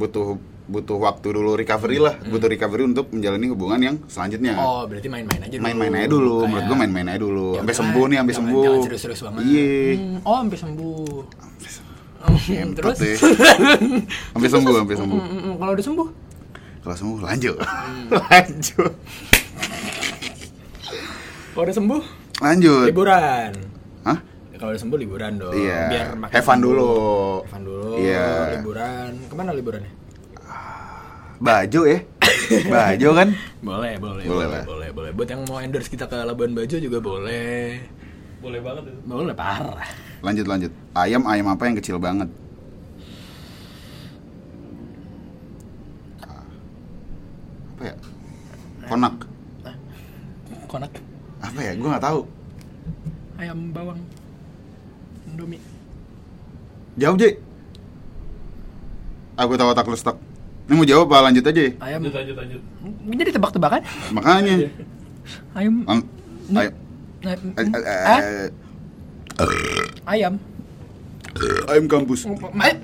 S2: butuh butuh waktu dulu recovery lah, butuh recovery untuk menjalani hubungan yang selanjutnya. kan?
S1: Hmm. oh berarti main-main aja dulu
S2: main-main aja dulu,
S1: Kayak-
S2: menurut gua main-main aja dulu.
S1: Ya
S2: Sampai
S1: udah,
S2: sembuh nih, sampai
S1: jangan-
S2: sembuh.
S1: Jangan serius-serius banget.
S2: Iya.
S1: Hmm, Oh, sampai sembuh. Hmm,
S2: Ngentot
S1: Terus?
S2: deh. Sampai sembuh, sampai sembuh.
S1: Mm, mm, Kalau udah sembuh,
S2: Kalau sembuh lanjut.
S1: Hmm.
S2: lanjut.
S1: kalau udah sembuh
S2: Lanjut.
S1: liburan.
S2: Hah?
S1: Ya, Kalau udah sembuh liburan dong.
S2: Iya.
S1: Biar makin
S2: Have fun
S1: sembuh.
S2: dulu.
S1: Have fun dulu.
S2: Iya.
S1: Liburan. Kemana liburannya?
S2: Bajo ya. Bajo kan?
S1: Boleh, boleh, boleh,
S2: Boleh
S1: boleh,
S2: lah.
S1: boleh, Buat yang mau endorse kita ke Labuan Bajo juga boleh.
S4: Boleh banget itu.
S1: Boleh parah.
S2: Lanjut, lanjut. Ayam ayam apa yang kecil banget? Ah. Apa ya? Konak.
S1: Konak
S2: Apa ya? Gua nggak tahu.
S1: ayam bawang Indomie.
S2: Jawab, J. Ah, gua tahu otak lu stuck. Ini mau jawab apa lanjut aja ya?
S1: Ayam.
S4: Lanjut, lanjut, lanjut.
S1: Jadi tebak-tebakan?
S2: Makanya.
S1: Ayam.
S2: Am- ayo.
S1: Ay-
S2: Eh, eh, eh,
S1: Ah, Ayam.
S2: ayam kampus.
S1: Ay-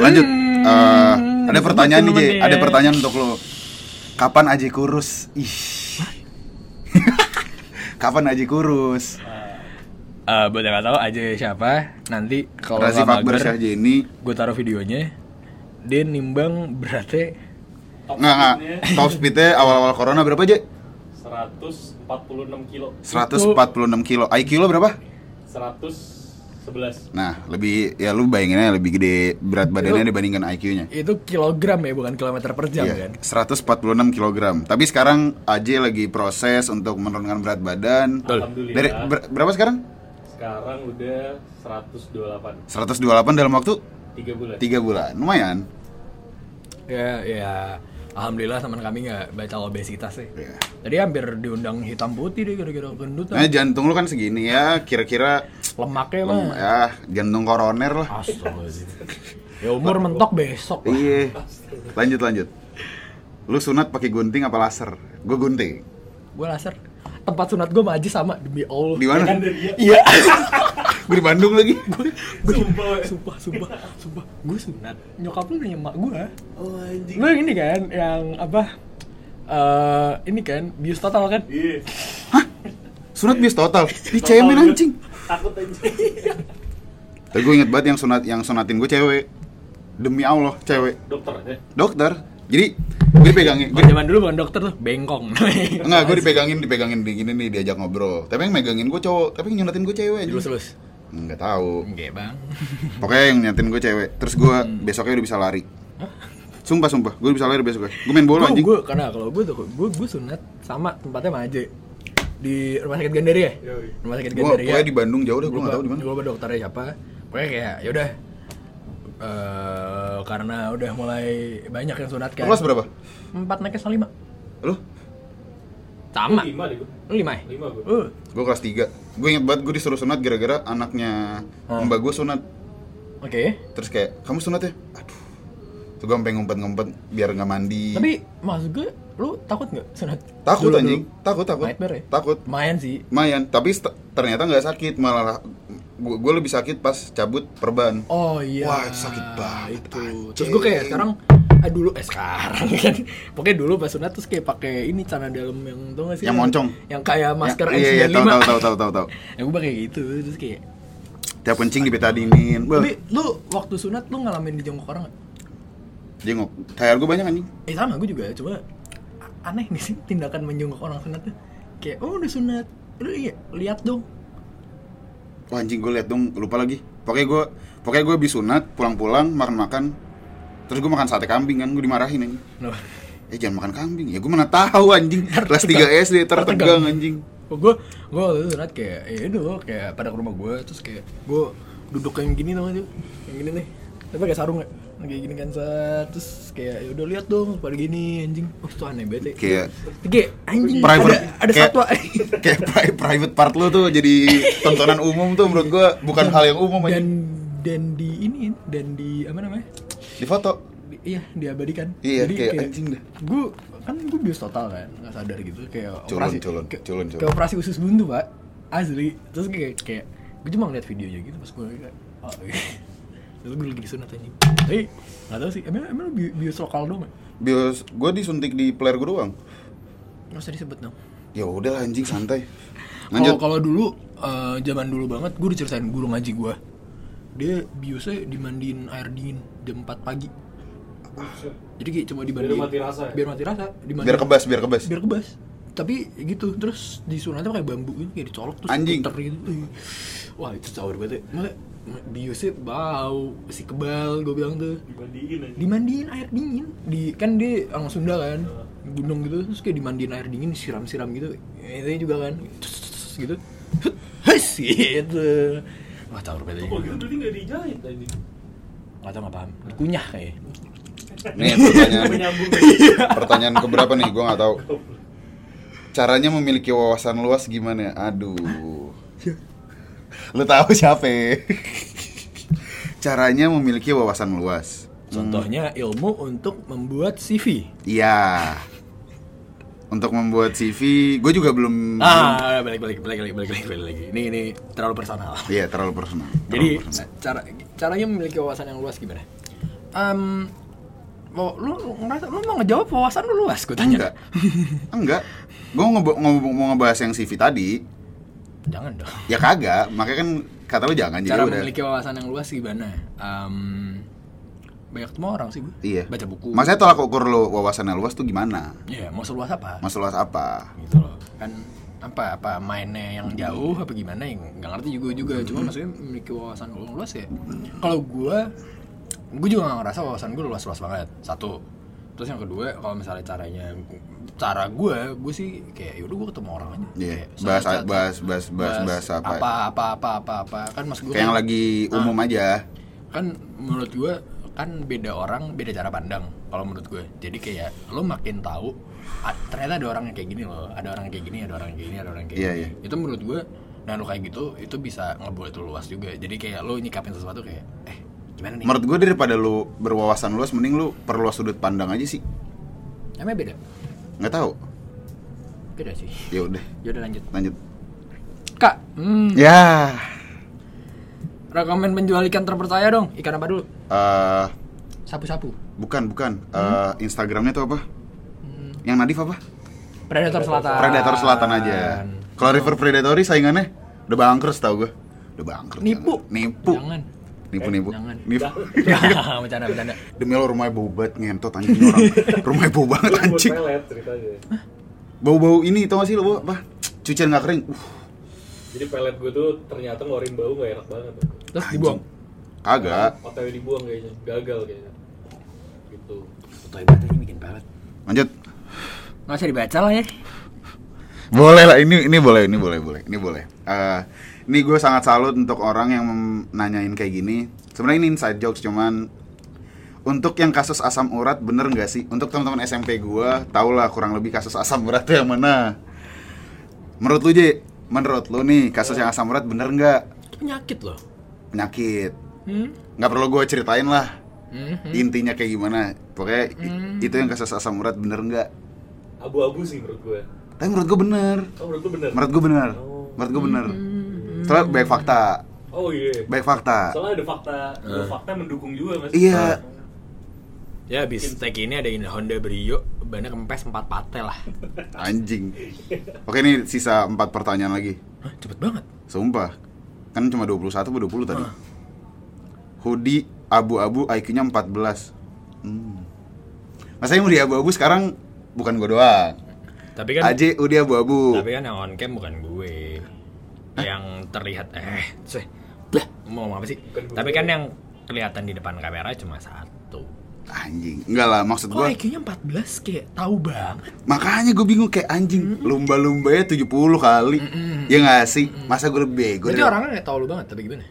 S2: Lanjut. Eh, ada pertanyaan nih, Jay.
S1: temen
S2: Ada
S1: ya.
S2: pertanyaan untuk lo. Kapan Aji kurus? Ih. Kapan Aji kurus?
S1: Eh, buat yang gak tahu aja siapa nanti kalau
S2: Razi
S1: nggak
S2: Akbar
S1: mager,
S2: Syah Jenny.
S1: gue taruh videonya dia nimbang beratnya
S4: Top
S2: Nggak, nggak.
S4: speed-nya
S2: Top speednya awal-awal corona berapa, Jay?
S4: 146 kilo.
S2: 146 kilo. IQ lo berapa?
S4: 111.
S2: Nah, lebih ya lu bayanginnya lebih gede berat badannya dibandingkan IQ-nya.
S1: itu kilogram ya bukan kilometer per jam kan
S2: Iya, 146 kg. Tapi sekarang Aji lagi proses untuk menurunkan berat badan.
S1: Betul.
S4: Alhamdulillah.
S2: Dari ber- berapa sekarang?
S4: Sekarang udah 128.
S2: 128 dalam waktu
S4: 3 bulan.
S2: 3 bulan. Lumayan.
S1: ya ya alhamdulillah teman kami nggak baca obesitas sih
S2: Iya.
S1: tadi hampir diundang hitam putih deh gara-gara gendut ah.
S2: Nah, jantung lu kan segini ya, kira-kira
S1: lemaknya mah
S2: lem- ya jantung koroner lah.
S1: Astagfirullahaladzim. ya umur mentok besok lah.
S2: Iya. Lanjut lanjut. Lu sunat pakai gunting apa laser? Gue gunting.
S1: gue laser tempat sunat gue maji sama demi allah
S2: Di mana?
S1: iya
S2: Gue di Bandung lagi.
S1: sumpah sumpah sumpah sumpah gue sunat nyokap lu nanya emak gue
S4: Oh anjing.
S1: lu yang ini kan yang apa eh ini kan bius total kan
S4: Iya.
S2: sunat bias total di cemen anjing
S4: Takut anjing.
S2: tapi gue inget banget yang sunat yang sunatin gue cewek demi allah cewek
S4: Dokter ya.
S2: dokter jadi gue dipegangin
S1: Kalau zaman dulu bukan dokter tuh, bengkong namanya.
S2: Enggak, gue dipegangin, dipegangin di gini nih diajak ngobrol. Tapi yang megangin gue cowok, tapi yang nyunatin gue cewek. anjing.
S1: Lulus lulus.
S2: Nggak tahu.
S1: Enggak bang.
S2: Pokoknya yang nyunatin gue cewek. Terus gue besoknya udah bisa lari. Sumpah sumpah, gue bisa lari besoknya. Gue main bola anjing.
S1: Gue karena kalau gue tuh gue gue sunat sama tempatnya sama aja di rumah sakit Gandaria. Rumah sakit
S2: Gue
S1: Gandaria.
S2: pokoknya di Bandung jauh deh, gue nggak tahu di mana.
S1: Gue dokternya siapa. Pokoknya kayak yaudah eh karena udah mulai banyak yang sunat kan.
S2: Kelas berapa?
S1: Empat naiknya sama lima.
S2: Lu?
S1: Sama.
S4: Lima deh gue.
S1: Lu lima ya?
S4: Lima
S2: Oh.
S4: gue.
S1: Uh,
S2: Gue kelas 3 Gue inget banget gue disuruh sunat gara-gara anaknya
S1: Hmm.
S2: mbak gue sunat.
S1: oke.
S2: Terus kayak, kamu sunat ya? Aduh. Tuh gue sampai ngumpet-ngumpet biar nggak mandi.
S1: Tapi maksud gue, lu takut nggak sunat?
S2: takut
S1: Dulu-dulu.
S2: anjing, takut takut.
S1: Nightmare ya?
S2: Takut.
S1: Lumayan sih.
S2: Lumayan, tapi st- ternyata nggak sakit malah gue gue lebih sakit pas cabut perban.
S1: Oh iya.
S2: Wah, itu sakit banget,
S1: Itu.
S2: anjing.
S1: Terus gue kayak sekarang ah dulu eh sekarang kan pokoknya dulu pas sunat terus kayak pakai ini celana dalam yang tau gak sih
S2: Yang moncong.
S1: yang kayak masker
S2: Ya, iya iya tahu tahu tahu tahu tahu tahu.
S1: ya gue pakai gitu terus kayak
S2: Tiap kencing di betadinin.
S1: tapi
S2: Bel,
S1: lu waktu sunat lu ngalamin dijongkok orang nggak?
S2: jenguk. Tayar gue banyak anjing.
S1: eh sama gue juga cuma a- aneh nih sih tindakan menjongkok orang sunat tuh kayak oh udah sunat lu iya lihat dong
S2: Wah anjing gue liat dong, lupa lagi. Pokoknya gue pokoknya gue habis sunat, pulang-pulang makan-makan. Terus gue makan sate kambing kan, gue dimarahin anjing.
S1: nah,
S2: Eh jangan makan kambing. Ya gue mana tahu anjing. Kelas 3 SD tertegang anjing.
S1: gue gue waktu itu sunat kayak ya itu kayak pada ke rumah gue terus kayak gue duduk yang gini tau gak sih? yang gini nih tapi kayak sarung ya kayak gini kan set terus kayak ya udah lihat dong pada gini anjing oh itu aneh banget ya.
S2: Kayak
S1: kayak anjing
S2: private
S1: ada ada
S2: kayak,
S1: satwa
S2: kayak pri- private part lu tuh jadi tontonan umum tuh menurut gue bukan hal yang umum
S1: dan
S2: anjing.
S1: dan di ini dan di apa namanya
S2: Di foto.
S1: Di- iya diabadikan
S2: Iya, kayak anjing dah.
S1: gue kan gue bius total kan nggak sadar gitu kayak
S2: Culun,
S1: operasi
S2: culun,
S1: kayak-
S2: culun, culun.
S1: kayak operasi usus buntu pak asli terus kayak kayak gue cuma ngeliat videonya gitu pas gue kayak oh, terus gue lagi disunat anjing tapi nggak tahu sih emang emang lu bi- bius lokal dong ya
S2: Bios gue disuntik di player gue doang.
S1: nggak usah disebut dong
S2: Ya udah anjing santai.
S1: kalau
S2: Lanjut.
S1: kalau dulu eh, zaman dulu banget gue diceritain guru ngaji gue dia biusnya dimandiin air dingin jam 4 pagi jadi kayak cuma dimandiin
S4: mati rasa ya?
S1: biar mati rasa dimandiin.
S2: biar kebas, biar kebas.
S1: biar kebas tapi gitu terus disunatnya pakai bambu ini kayak dicolok terus
S2: Anjing.
S1: puter gitu Ih. wah itu caur banget ya. Maksudnya, biusnya bau si kebal gue bilang tuh
S4: Dibandingin anjing.
S1: dimandiin air dingin di kan dia orang Sunda kan gunung gitu terus kayak dimandiin air dingin siram-siram gitu itu juga kan Terus, terus, terus, gitu Hus, gitu wah caur banget
S4: Kok
S1: ya.
S4: gitu berarti nggak dijahit anjing.
S1: nggak tau nggak paham dikunyah kayak
S2: Hmm. Nih pertanyaan.
S4: Menyambung.
S2: Iya, pertanyaan keberapa nih? Gue nggak tahu. Caranya memiliki wawasan luas gimana? ya? Aduh. Lu tahu siapa? ya? Caranya memiliki wawasan luas.
S1: contohnya ilmu untuk membuat CV
S2: Iya. Untuk membuat CV, gue juga belum.
S1: Ah, balik balik balik balik balik balik lagi. Ini ini terlalu personal.
S2: Iya terlalu personal. Terlalu
S1: Jadi
S2: personal.
S1: cara caranya memiliki wawasan yang luas gimana? Um, mau lu, lu ngerasa lu mau ngejawab wawasan lu luas gue tanya.
S2: enggak, enggak. Gue mau ngebahas yang CV tadi,
S1: Jangan dong.
S2: ya kagak. Makanya kan kata lu jangan jadi
S1: Cara
S2: udah.
S1: memiliki wawasan yang luas gimana? Um, banyak semua orang sih gue.
S2: Iya.
S1: Baca buku.
S2: Maksudnya tolak ukur lo wawasannya luas tuh gimana?
S1: Iya, mau seluas apa?
S2: Mas luas apa?
S1: gitu loh. Kan apa apa mainnya yang jauh apa gimana yang nggak ngerti juga juga cuma
S2: Hmm.
S1: maksudnya memiliki wawasan yang luas ya kalau gua gua juga nggak ngerasa wawasan gua luas luas banget satu terus yang kedua kalau misalnya caranya cara gua gua sih kayak yaudah gua ketemu orang aja
S2: Iya,
S1: Kayak,
S2: bahas-
S1: saya- saya-
S2: bahas- bahas- bahas- bahas apa? ya?
S1: apa apa apa apa apa kan mas gua
S2: Kayak yang
S1: kan-
S2: lagi umum aja.
S1: kan menurut gue kan beda orang beda cara pandang kalau menurut gue jadi kayak lo makin tahu "Ah, ternyata ada orang yang kayak gini loh ada orang yang kayak gini ada orang yang kayak gini ada orang yang kayak
S2: Iya,
S1: gini itu menurut gue nah lo kayak gitu itu bisa ngebuat lo luas juga jadi kayak lo nyikapin sesuatu kayak eh gimana nih
S2: Menurut gue daripada lu berwawasan luas, mending lu perluas sudut pandang aja sih.
S1: emang beda
S2: Nggak tahu.
S1: beda sih
S2: Ya udah,
S1: yaudah lanjut
S2: lanjut.
S1: kak hmm,
S2: Ya,
S1: rekomen penjual ikan terpercaya dong ikan apa dulu
S2: eh,
S1: sapu-sapu
S2: bukan bukan.
S1: Hmm?
S2: Eh, Instagramnya tuh apa? Yang Nadif apa?
S1: predator selatan
S2: Predator Selatan aja. Kalau River Predatory saingannya udah bangkrut tau gue. Udah bangkrut.
S1: Nipu.
S2: jangan. Nipu.
S1: Jangan. Eh,
S2: Nipu nipu.
S1: jangan.
S2: Nipu.
S1: Jangan, bercanda bercanda.
S2: Demi lo rumahnya bau banget ngentot anjing orang. rumahnya bau banget
S4: Buat
S2: anjing.
S4: pelet ceritanya.
S2: Bau-bau ini tau gak sih lo bau apa? Cucian gak kering. Uh,
S4: Jadi pelet gue tuh ternyata ngeluarin bau gak enak banget.
S1: Terus dibuang.
S2: kagak.
S4: Otw dibuang kayaknya, gagal kayaknya. Gitu.
S1: Betul banget ini bikin pelet.
S2: Lanjut.
S1: Nggak usah dibaca lah ya.
S2: Boleh lah ini ini boleh ini boleh boleh ini boleh. Eh, ini gue sangat salut untuk orang yang mem- nanyain kayak gini. Sebenarnya ini inside jokes cuman untuk yang kasus asam urat bener nggak sih? Untuk teman-teman SMP gue tau lah kurang lebih kasus asam urat tuh yang mana? Menurut lu J, menurut lu nih kasus yang asam urat bener nggak
S1: Itu penyakit loh.
S2: penyakit?
S1: Hmm.
S2: Nggak perlu gue ceritain lah
S1: Hmm.
S2: intinya kayak gimana. Pokoknya i- itu yang kasus asam urat bener nggak?
S4: Abu-abu sih menurut gue.
S2: Tapi menurut gue bener.
S4: Oh menurut lu bener?
S2: Menurut gue bener.
S4: Oh.
S2: Menurut gue bener. Soalnya banyak fakta.
S4: Oh iya.
S2: Banyak fakta.
S4: Soalnya ada fakta, ada fakta mendukung juga mas.
S2: Eh.
S4: Nah,
S2: Iya.
S1: Ya habis tag ini ada ini Honda Brio bannya kempes 4 pate lah.
S2: Anjing. Oke ini sisa empat pertanyaan lagi.
S1: Hah, cepet banget.
S2: Sumpah. Kan cuma 21 atau 20 tadi. Hoodie abu-abu IQ-nya 14. Hmm. Masanya hoodie abu-abu sekarang bukan gue doang.
S1: Tapi kan
S2: Aje hoodie abu-abu.
S1: tapi kan yang on cam bukan gue. Yang terlihat eh sih. Blah, mau ngomong apa sih?
S4: Bukan gue.
S1: Tapi kan yang kelihatan di depan kamera cuma satu.
S2: Anjing. Enggak lah maksud
S1: Kok
S2: gue.
S1: IQ-nya 14 kayak tahu banget.
S2: Makanya gue bingung kayak anjing. Lumba-lumbanya 70 kali. Ya nggak sih? Masa gue lebih bego
S1: Berarti
S4: Iya.
S2: dari-
S1: orangnya nggak tahu lu banget tapi gimana?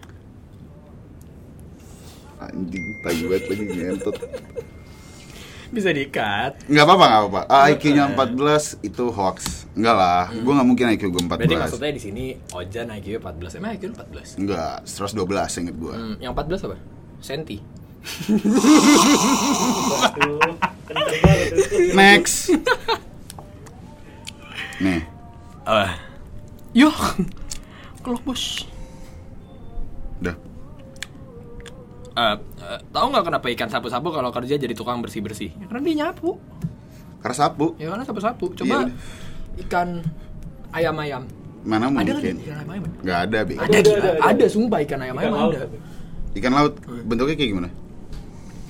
S2: Anjing, tai banget lagi ngentot.
S1: Bisa diikat.
S2: Nggak apa-apa, nggak apa-apa. Ah,
S1: Eh.
S2: IQ-nya 14 itu hoax. Enggak lah, gua nggak mungkin IQ gue
S1: Hmm. Berarti
S2: 14.
S1: maksudnya di sini Ojan IQ 14. Emang IQ 14?
S2: Enggak, 112 inget gua.
S1: Hmm, yang 14 apa? Senti.
S4: Tuh, kenceng banget itu.
S1: Hmm.
S2: Next. Nih,
S1: Ah. Yo. Kelok bos.
S2: udah.
S1: Eh, eh, tahu nggak kenapa ikan sapu-sapu kalau kerja jadi tukang bersih-bersih? Ya, karena dia nyapu.
S2: Karena sapu.
S1: Ya karena sapu-sapu.
S2: Iya,
S1: Coba
S2: udah.
S1: ikan ayam-ayam.
S2: Mana
S1: Ada kan
S2: mungkin?
S1: ikan ayam-ayam?
S2: Nggak ada, Bi.
S1: Ada,
S4: Hmm, ada,
S1: gila.
S4: ada,
S1: Ada,
S4: ada.
S1: sumpah ikan
S4: Ikan
S1: ayam-ayam
S4: laut.
S1: ada.
S4: tapi.
S2: Ikan laut bentuknya kayak gimana?
S1: Nah.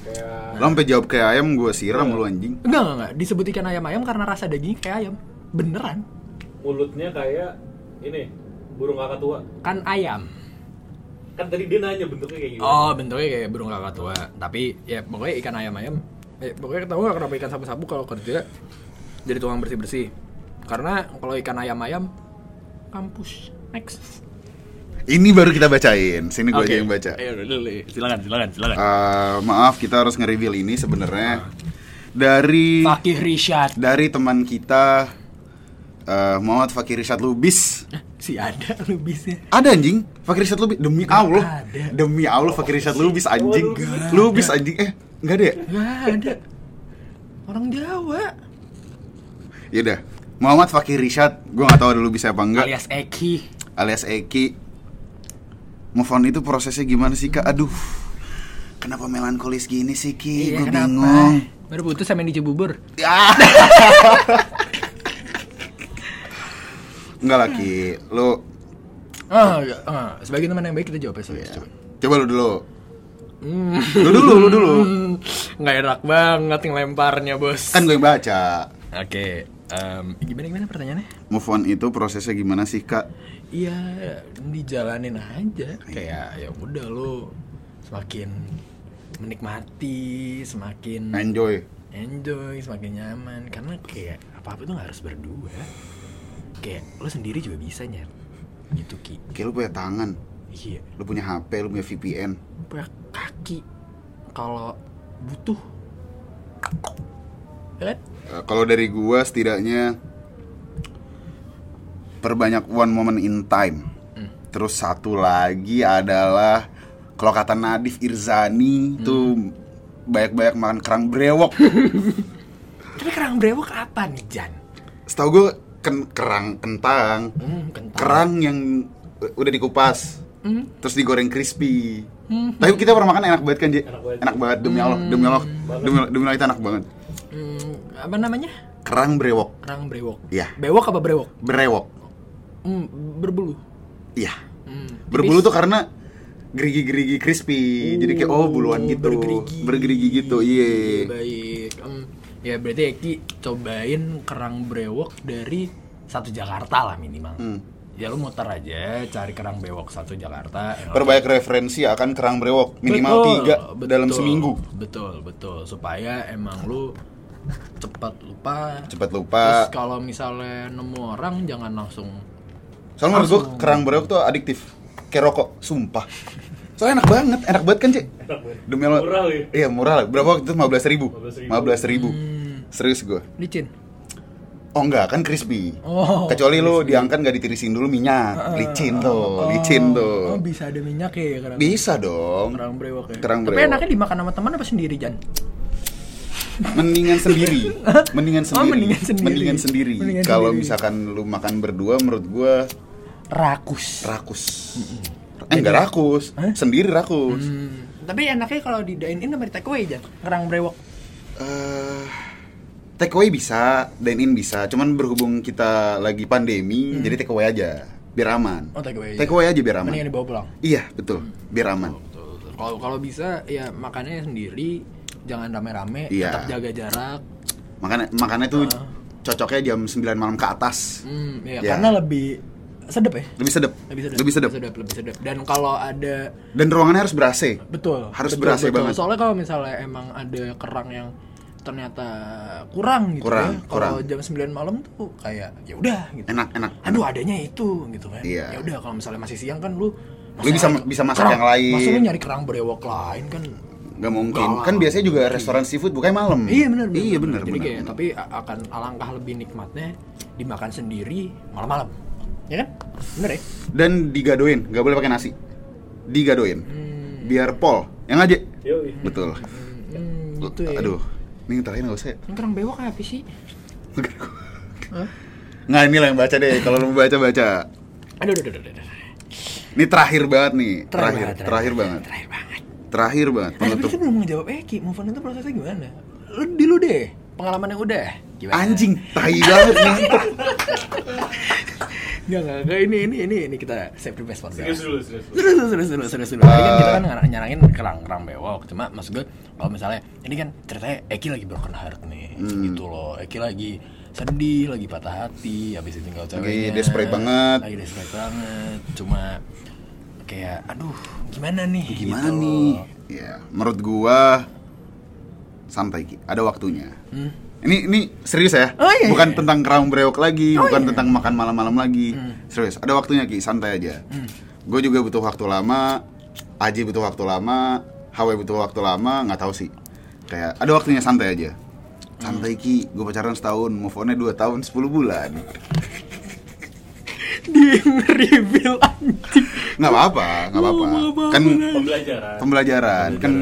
S4: Kayak
S2: Lo sampai jawab kayak ayam gua siram
S1: Nah.
S2: lu anjing.
S1: Enggak, enggak, enggak. Disebut ikan ayam-ayam karena rasa dagingnya kayak ayam. Beneran.
S4: mulutnya kayak ini burung kakak tua.
S1: Kan ayam.
S4: Kan tadi dia nanya bentuknya kayak
S2: Iya.
S4: gimana.
S1: Oh, bentuknya kayak burung kakak tua. Tapi ya pokoknya ikan ayam-ayam. Eh, pokoknya tahu nggak kenapa ikan sapu-sapu kalau kerja jadi tukang bersih-bersih? Karena kalau ikan ayam-ayam kampus. Next.
S2: Ini baru kita bacain. Sini gua aja yang baca.
S1: Ayo, silakan, silakan, silakan.
S2: Eh, maaf, kita harus nge-reveal ini
S1: Ah.
S2: sebenarnya dari
S1: Fakih Rishad.
S2: dari teman kita eh Muhammad Fakir Rishad Lubis.
S1: Si ada lubisnya.
S2: Ada anjing, Fakir Rishad Lubis demi Allah.
S1: ada.
S2: Demi Allah Fakir Rishad Lubis anjing.
S1: Nggak
S2: Lubis anjing eh enggak ada ya?
S1: Nggak ada. Orang Jawa.
S2: Ya udah. Muhammad Fakir Rishad, gua nggak tahu ada Lubis apa enggak.
S1: Alias Eki.
S2: Alias Eki. Move on itu prosesnya gimana sih Kak? Aduh. Kenapa melankolis gini sih
S1: Iya,
S2: Ki? Gua bingung.
S1: Baru putus sama yang di Cibubur.
S2: Enggak lah Ki. Lu
S1: Ah, enggak, ah. sebagai teman yang baik kita jawab ya. serius, coba.
S2: iya. coba lu dulu. Lu dulu, lu dulu.
S1: Hmm, nggak enak banget ngelemparnya bos.
S2: Kan gue yang baca.
S1: Oke, em, gimana gimana pertanyaannya?
S2: Move on itu prosesnya gimana sih kak?
S1: Iya, dijalanin aja. Kayak ya udah lo semakin menikmati, semakin
S2: Enjoy.
S1: enjoy, semakin nyaman. Karena kayak apa apa tuh nggak harus berdua. Kayak lo sendiri juga bisa nyet. Gitu ki.
S2: Kayak lu punya tangan,
S1: Iya.
S2: lu punya HP, lu punya VPN.
S1: Punya kaki kalau butuh. Ya kan?
S2: Eh, Kalau dari gua setidaknya perbanyak one moment in time. Terus satu lagi adalah kalau kata Nadif Irzani tuh banyak-banyak makan kerang brewok.
S1: Tapi kerang brewok apa nih Jan?
S2: Setahu gua ken- kerang kentang,
S1: Hmm, kental.
S2: kerang yang u- udah dikupas.
S1: Hmm.
S2: Terus digoreng crispy. Tapi kita pernah makan enak banget kan, Je?
S4: Enak banget.
S2: Enak banget demi Allah, demi Allah, demi Allah, demi Allah itu enak banget.
S1: Hmm, apa namanya?
S2: Kerang brewok.
S1: Kerang brewok.
S2: Iya.
S1: Bewok apa brewok?
S2: Brewok.
S1: Mm, berbulu.
S2: Iya.
S1: Mm,
S2: Berbulu
S1: tipis.
S2: tuh karena gerigi-gerigi crispy. Jadi kayak oh buluan gitu.
S1: bergerigi.
S2: Bergerigi gitu. Iya.
S1: Baik. Em, ya berarti Eki cobain kerang brewok dari satu Jakarta lah minimal.
S2: Hmm.
S1: Ya lu muter aja cari kerang brewok satu Jakarta. yang
S2: Perbanyak referensi akan kerang brewok minimal
S1: Betul,
S2: tiga
S1: betul,
S2: dalam seminggu.
S1: Betul, betul. Supaya emang lu cepat lupa.
S2: Cepat
S1: Terus
S2: lupa.
S1: kalau misalnya nemu orang jangan langsung
S2: Soalnya menurut gua kerang brewok tuh adiktif. Kayak rokok, sumpah. Soalnya enak banget, enak banget kan, Cek? Demi Allah.
S4: Murah lagi.
S2: Iya, murah lah. Berapa waktu itu? 15 ribu.
S4: 15.000.
S2: 15 ribu.
S1: Hmm.
S2: Serius gua.
S1: licin.
S2: Oh enggak, kan crispy.
S1: Oh, Ah.
S2: Kecuali lu diangkat nggak ditirisin dulu minyak. Licin tuh, licin
S1: Oh,
S2: tuh.
S1: bisa ada minyak ya kerang.
S2: Bisa dong.
S1: kerang brewok ya.
S2: Kerang
S1: Tapi
S2: brewok.
S1: enaknya dimakan sama teman apa sendiri, Jan?
S2: Mendingan sendiri. Mendingan sendiri.
S1: Oh, mendingan sendiri.
S2: Mendingan sendiri.
S1: Mendingan
S2: Kalau
S1: sendiri.
S2: misalkan lu makan berdua menurut gua
S1: Rakus.
S2: rakus. Eh enggak rakus, sendiri rakus.
S1: Hmm, Tapi enaknya kalau di dine in sama di take away, Jan. Kerang brewok.
S2: eh take away bisa, dine in bisa. Cuman berhubung kita lagi pandemi, jadi take away aja biar aman.
S1: Hmm. Oh, take away.
S2: Take away aja biar aman.
S1: Mendingan Oh. dibawa pulang.
S2: Iya, betul. Biar aman.
S1: Kalau kalau bisa ya makannya sendiri, jangan rame-rame,
S2: Iya.
S1: tetap jaga jarak.
S2: Makanya makanya tuh cocoknya jam 9 malam ke
S1: Ah.
S2: atas.
S1: Hmm, ya,
S2: Ya.
S1: karena lebih sedep ya.
S2: Lebih sedap.
S1: Lebih sedep.
S2: Lebih sedap.
S1: lebih sedep. Dan kalau ada
S2: Dan ruangannya harus ber-AC.
S1: betul.
S2: Harus
S1: betul,
S2: berasa
S1: betul.
S2: banget.
S1: Soalnya kalau misalnya emang ada kerang yang ternyata kurang gitu
S2: Kurang,
S1: ya. Kalau
S2: kurang.
S1: jam 9 malam tuh kayak ya udah gitu.
S2: Enak, enak.
S1: Aduh, adanya itu gitu kan.
S2: Iya.
S1: Ya udah kalau misalnya masih siang kan lu
S2: Lu bisa- bisa masak yang lain. Hmm.
S1: Masa lu nyari kerang brewok lain kan
S2: Gak
S1: Gak.
S2: mungkin. Kan biasanya juga restoran seafood bukanya malam.
S1: Iya benar.
S2: Iya benar.
S1: Jadi
S2: benar,
S1: kayak
S2: benar.
S1: tapi a- akan alangkah lebih nikmatnya dimakan sendiri malam-malam. Ya kan? Bener ya?
S2: Dan digadoin, gak boleh pakai nasi. Digadoin. Biar pol. Yang aja.
S4: Yoi.
S2: Betul.
S1: Hmm, gitu ya.
S2: Aduh. Ini terakhir gak usah ya.
S1: Ini kerang bewok apa sih?
S2: Nggak ini lah yang baca deh. Kalau lu mau baca baca.
S1: Aduh, aduh, aduh, aduh, aduh.
S2: Ini terakhir banget nih. Terakhir.
S1: banget,
S2: Terakhir banget.
S1: Terakhir banget.
S2: Terakhir banget.
S1: Nah, tapi
S2: Penutup.
S1: kita belum ngejawab Eki, move on itu prosesnya gimana? Lu di lu deh, pengalaman yang udah. Gimana?
S2: Anjing, tai banget ngantuk.
S1: Enggak, enggak, enggak, ini, ini, ini, ini kita save the best for
S4: Serius
S1: last.
S4: dulu, serius dulu.
S1: Serius, serius, serius, serius, serius. Tadi kan kita kan
S2: Eh.
S1: ngar- nyarangin kerang kerang bewok. Cuma maksud gue kalau misalnya ini kan ceritanya Eki lagi broken heart nih,
S2: Hmm.
S1: gitu loh. Eki lagi sedih, lagi patah hati, habis ditinggal ceweknya.
S2: desperate banget.
S1: Lagi desperate banget. Cuma kayak aduh gimana nih
S2: Gimana
S1: gitu
S2: nih?
S1: loh.
S2: Ya, menurut gua santai Ki, ada waktunya. Ini ini serius ya?
S1: Hmm. Oh, iya, iya. Oh,
S2: bukan
S1: Hmm.
S2: tentang kerang breok lagi, bukan tentang makan malam-malam lagi. Serius, ada waktunya Ki, santai aja. Gue juga butuh waktu lama, Aji butuh waktu lama, Hawaii butuh waktu lama, nggak tahu sih. Kayak ada waktunya santai aja.
S1: Hmm.
S2: Santai Ki, gue pacaran setahun, move onnya 2 tahun 10 bulan.
S1: di reveal anjing
S2: Nggak apa-apa, nggak apa-apa.
S1: Oh, nggak apa-apa,
S2: Kan
S4: Pembelajaran.
S2: pembelajaran kan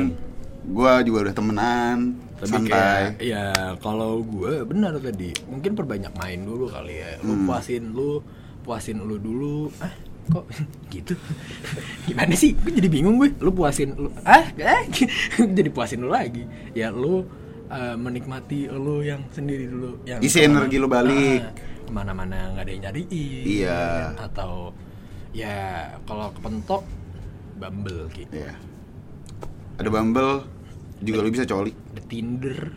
S2: gua juga udah temenan
S1: Lebih
S2: santai
S1: kayak, ya kalau gue benar tadi mungkin perbanyak main dulu kali ya lu
S2: Hmm.
S1: puasin lu puasin lu dulu ah kok gitu gimana sih gue jadi bingung gue lu puasin lu ah eh, jadi puasin lu lagi ya lu eh, menikmati lu yang sendiri dulu yang
S2: Isi energi lu balik.
S1: Ah, kemana-mana nggak ada yang nyariin
S2: Iya.
S1: atau ya kalau kepentok bumble gitu
S2: Iya. ada bumble juga lu bisa coli
S1: ada Tinder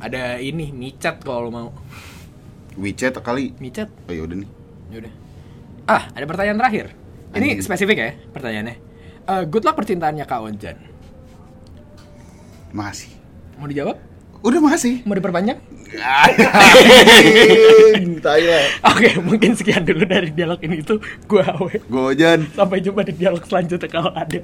S1: ada ini micat kalau lo mau
S2: WeChat kali
S1: micat
S2: oh yaudah nih
S1: yaudah ah ada pertanyaan terakhir ini
S2: Anjing.
S1: spesifik ya pertanyaannya Eh, good luck percintaannya kak Onjan
S2: makasih
S1: mau dijawab
S2: udah makasih
S1: mau diperpanjang
S2: Iya, tai lah
S1: oke mungkin sekian dulu dari dialog ini itu gua awe
S2: Gojan
S1: sampai jumpa di dialog selanjutnya kalau ada